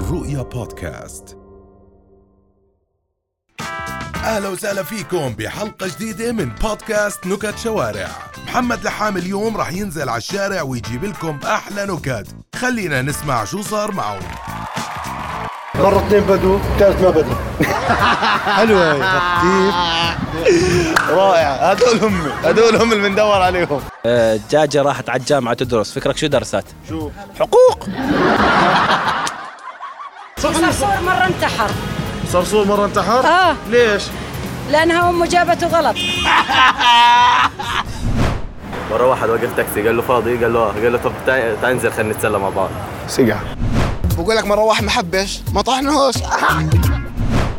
الرؤيا بودكاست اهلا وسهلا فيكم بحلقه جديده من بودكاست نكت شوارع محمد لحام اليوم راح ينزل على الشارع ويجيب لكم احلى نكت خلينا نسمع شو صار معه مرة اثنين بدو، ثالث ما بدو. حلوة هي كيف؟ رائعة، هذول هم، هذول هم اللي بندور عليهم. آه، الدجاجة راحت على الجامعة تدرس فكرك شو درست؟ شو؟ حقوق صرصور مرة انتحر صرصور مرة انتحر؟ آه. ليش؟ لأنها أمه جابته غلط مره واحد وقف تاكسي قال له فاضي قال له آه. قال له طب تعال تعال ننزل خلينا نتسلى مع بعض سقعة. بقول لك مره واحد محبش ما طحنهوش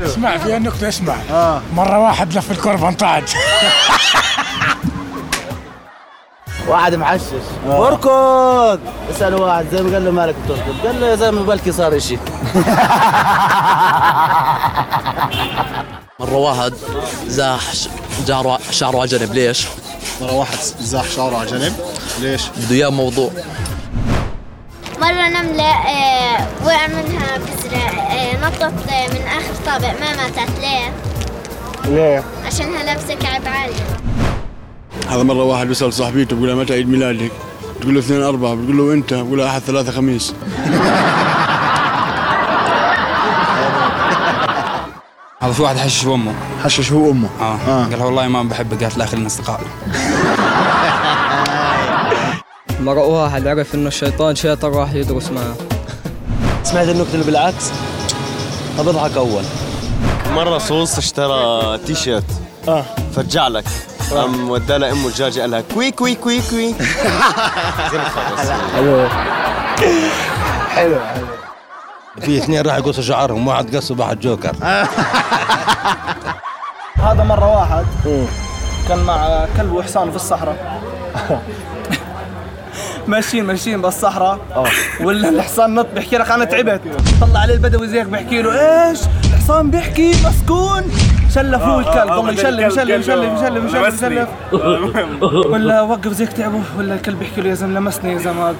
اسمع فيها نكتة اسمع آه. مرة واحد لف الكرة انطعج واحد محشش اركض اساله واحد زي ما قال له مالك بتركض قال له يا زلمه بلكي صار اشي مرة واحد زاح ش- جعره شعره على جنب ليش؟ مرة واحد زاح شعره على جنب، ليش؟ بده اياه موضوع مرة نملة آه، وقع منها بذرة آه، نطت آه، من آخر طابق ما ماتت ليه؟ ليه؟ عشانها لابسة كعب عالي هذا مره واحد بيسال صاحبيته بيقول لها متى عيد ميلادك؟ بتقول له اثنين اربعه بتقول له انت بتقول له احد ثلاثه خميس هذا في واحد حشش امه حشش هو أمه. اه, آه. قال لها والله ما بحبك قالت لا خلينا اصدقاء مرة واحد عرف انه الشيطان شيطان راح يدرس معه سمعت النكته اللي بالعكس طب اضحك اول مره صوص اشترى تي شيرت آه. فرجع لك قام ودى لها امه الدجاجه قال لها كوي كوي كوي كوي في اثنين راح يقصوا شعرهم، واحد قص وواحد جوكر. هذا مره واحد كان مع كلب وحصان في الصحراء ماشيين ماشيين بالصحراء ولا الحصان نط بيحكي لك انا تعبت طلع عليه البدوي زيك بيحكي له ايش الحصان بيحكي مسكون شلفوه الكلب والله يشلف يشلف يشلف يشلف يشلف يشلف ولا وقف زيك تعبه ولا الكلب بيحكي له يا زلمه لمسني يا زلمه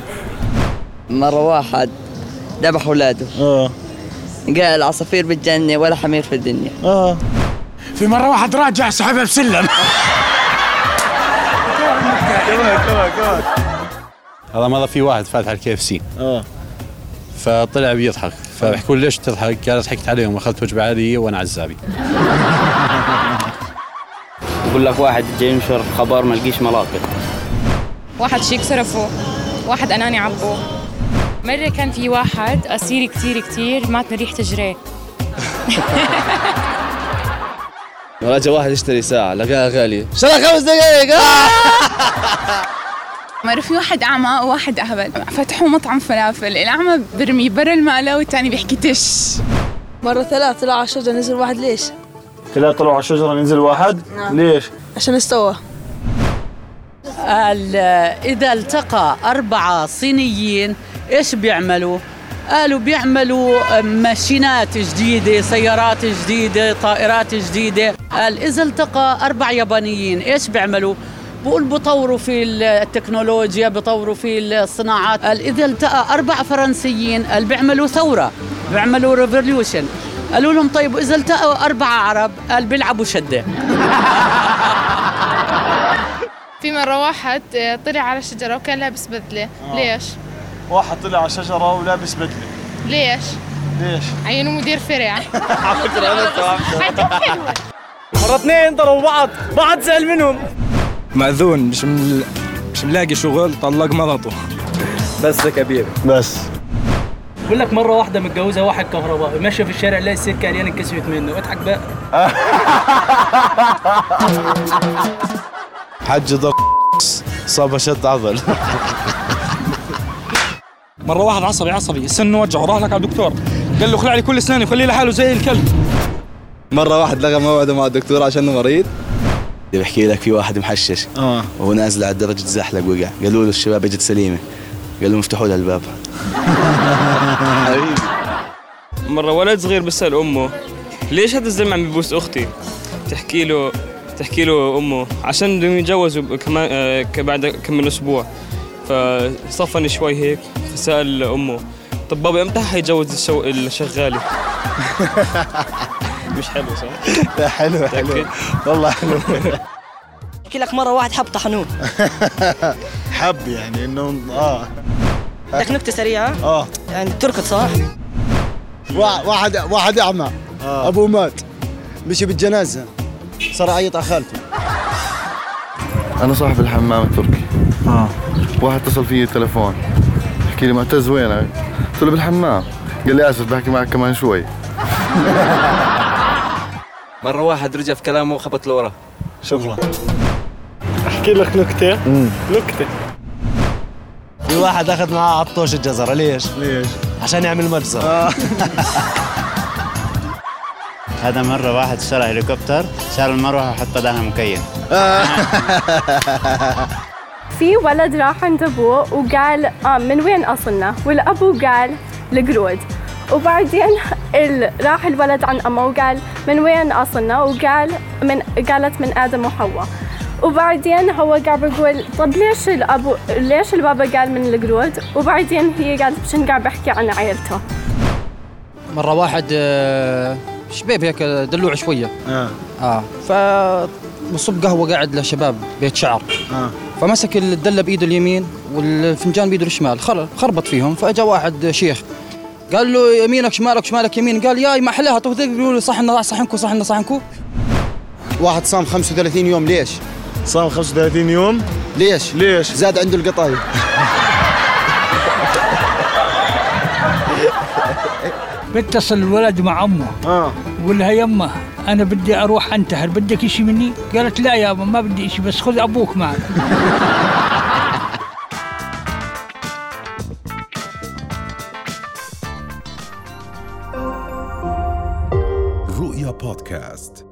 مرة واحد ذبح ولاده قال العصافير بالجنة ولا حمير في الدنيا في مرة واحد راجع سحبها بسلم هذا مره في واحد فاتح الكي اف سي آه. فطلع بيضحك فبحكوا له ليش تضحك؟ قال ضحكت عليهم اخذت وجبه عاديه وانا عزابي بقول لك واحد جاي ينشر خبر ما لقيش ملاقط واحد شيك صرفه واحد أناني عبوه مرة كان في واحد قصير كتير كتير مات من ريحة جريه مرة جا واحد يشتري ساعة لقاها غالية مرة في واحد أعمى وواحد أهبل فتحوا مطعم فلافل الأعمى برمي برا المقلة والتاني بيحكي تش مرة ثلاث طلع على الشجرة نزل واحد ليش؟ ثلاثة طلعوا على الشجرة ننزل واحد، نعم. ليش؟ عشان استوى قال إذا التقى أربعة صينيين إيش بيعملوا؟ قالوا بيعملوا ماشينات جديدة سيارات جديدة طائرات جديدة قال إذا التقى أربع يابانيين إيش بيعملوا؟ بقول بطوروا في التكنولوجيا بطوروا في الصناعات قال إذا التقى أربع فرنسيين قال بيعملوا ثورة بيعملوا ريفوليوشن قالوا لهم طيب إذا التقوا أربعة عرب قال بيلعبوا شدة في مرة واحد آه، طلع على الشجرة وكان لابس بدلة ليش؟ آه. واحد طلع على الشجرة ولابس بدلة، ليش؟ ليش؟ عينه مدير فرع مرة اثنين ضربوا بعض بعض زعل منهم مأذون مش مل... مش ملاقي شغل طلق مرضه بس كبير بس. بقول لك مرة واحدة متجوزة واحد كهربائي ماشية في الشارع لقى السكة عريانة انكسرت منه اضحك بقى حج ضر صاب شد عضل. مرة واحد عصبي عصبي سنه وجعه راح لك على الدكتور قال له خلع لي كل اسناني وخليه لحاله زي الكلب مرة واحد لغى موعده مع الدكتور عشانه مريض بحكي لك في واحد محشش آه. وهو نازل على الدرج تزحلق وقع قالوا له الشباب اجت سليمة قالوا له افتحوا لها الباب مرة ولد صغير بيسأل أمه ليش هذا الزلمة عم ببوس أختي تحكي له تحكي له أمه عشان بدهم يتجوزوا ب- كمان آه، ك- بعد كم من أسبوع فصفن شوي هيك فسأل أمه طب بابا امتى حيجوز الشو... الشغالة؟ مش حلو صح؟ لا حلو حلو والله حلو احكي لك مره واحد حب طحنوه حب يعني انه اه لك نكته سريعه اه يعني تركض صح؟ وا- واحد واحد اعمى ابوه مات مشي بالجنازه صار عيط على خالته انا صاحب الحمام التركي اه واحد اتصل فيي التليفون حكي لي معتز وينك؟ قلت له بالحمام قال لي اسف بحكي معك كمان شوي مرة واحد رجع في كلامه وخبط لورا شكرا احكي لك نكته نكته في واحد اخذ معاه عطوش الجزرة ليش؟ ليش؟ عشان يعمل مجزرة هذا مرة واحد اشترى هليكوبتر شال المروحة وحطها لها مكيف في ولد راح عند ابوه وقال آه من وين اصلنا والابو قال القرود وبعدين ال... راح الولد عن امه وقال من وين اصلنا وقال من قالت من ادم وحواء وبعدين هو قاعد بقول طب ليش الابو ليش البابا قال من القرود وبعدين هي قالت بشن قاعد بحكي عن عيلته مره واحد آه، شباب هيك دلوع شويه اه اه فمصب قهوه قاعد لشباب بيت شعر اه فمسك الدله بايده اليمين والفنجان بايده الشمال خل- خربط فيهم فاجا واحد شيخ قال له يمينك شمالك شمالك يمين قال ياي ما احلاها طب ذيك بيقولوا صحن صحنكو صحن صحنكو واحد صام 35 يوم ليش؟ صام 35 يوم ليش؟ ليش؟ زاد عنده القطايف بتصل الولد مع امه اه بقول لها يمه انا بدي اروح انتحر بدك اشي مني؟ قالت لا يابا ما بدي اشي بس خذ ابوك معك رؤيا بودكاست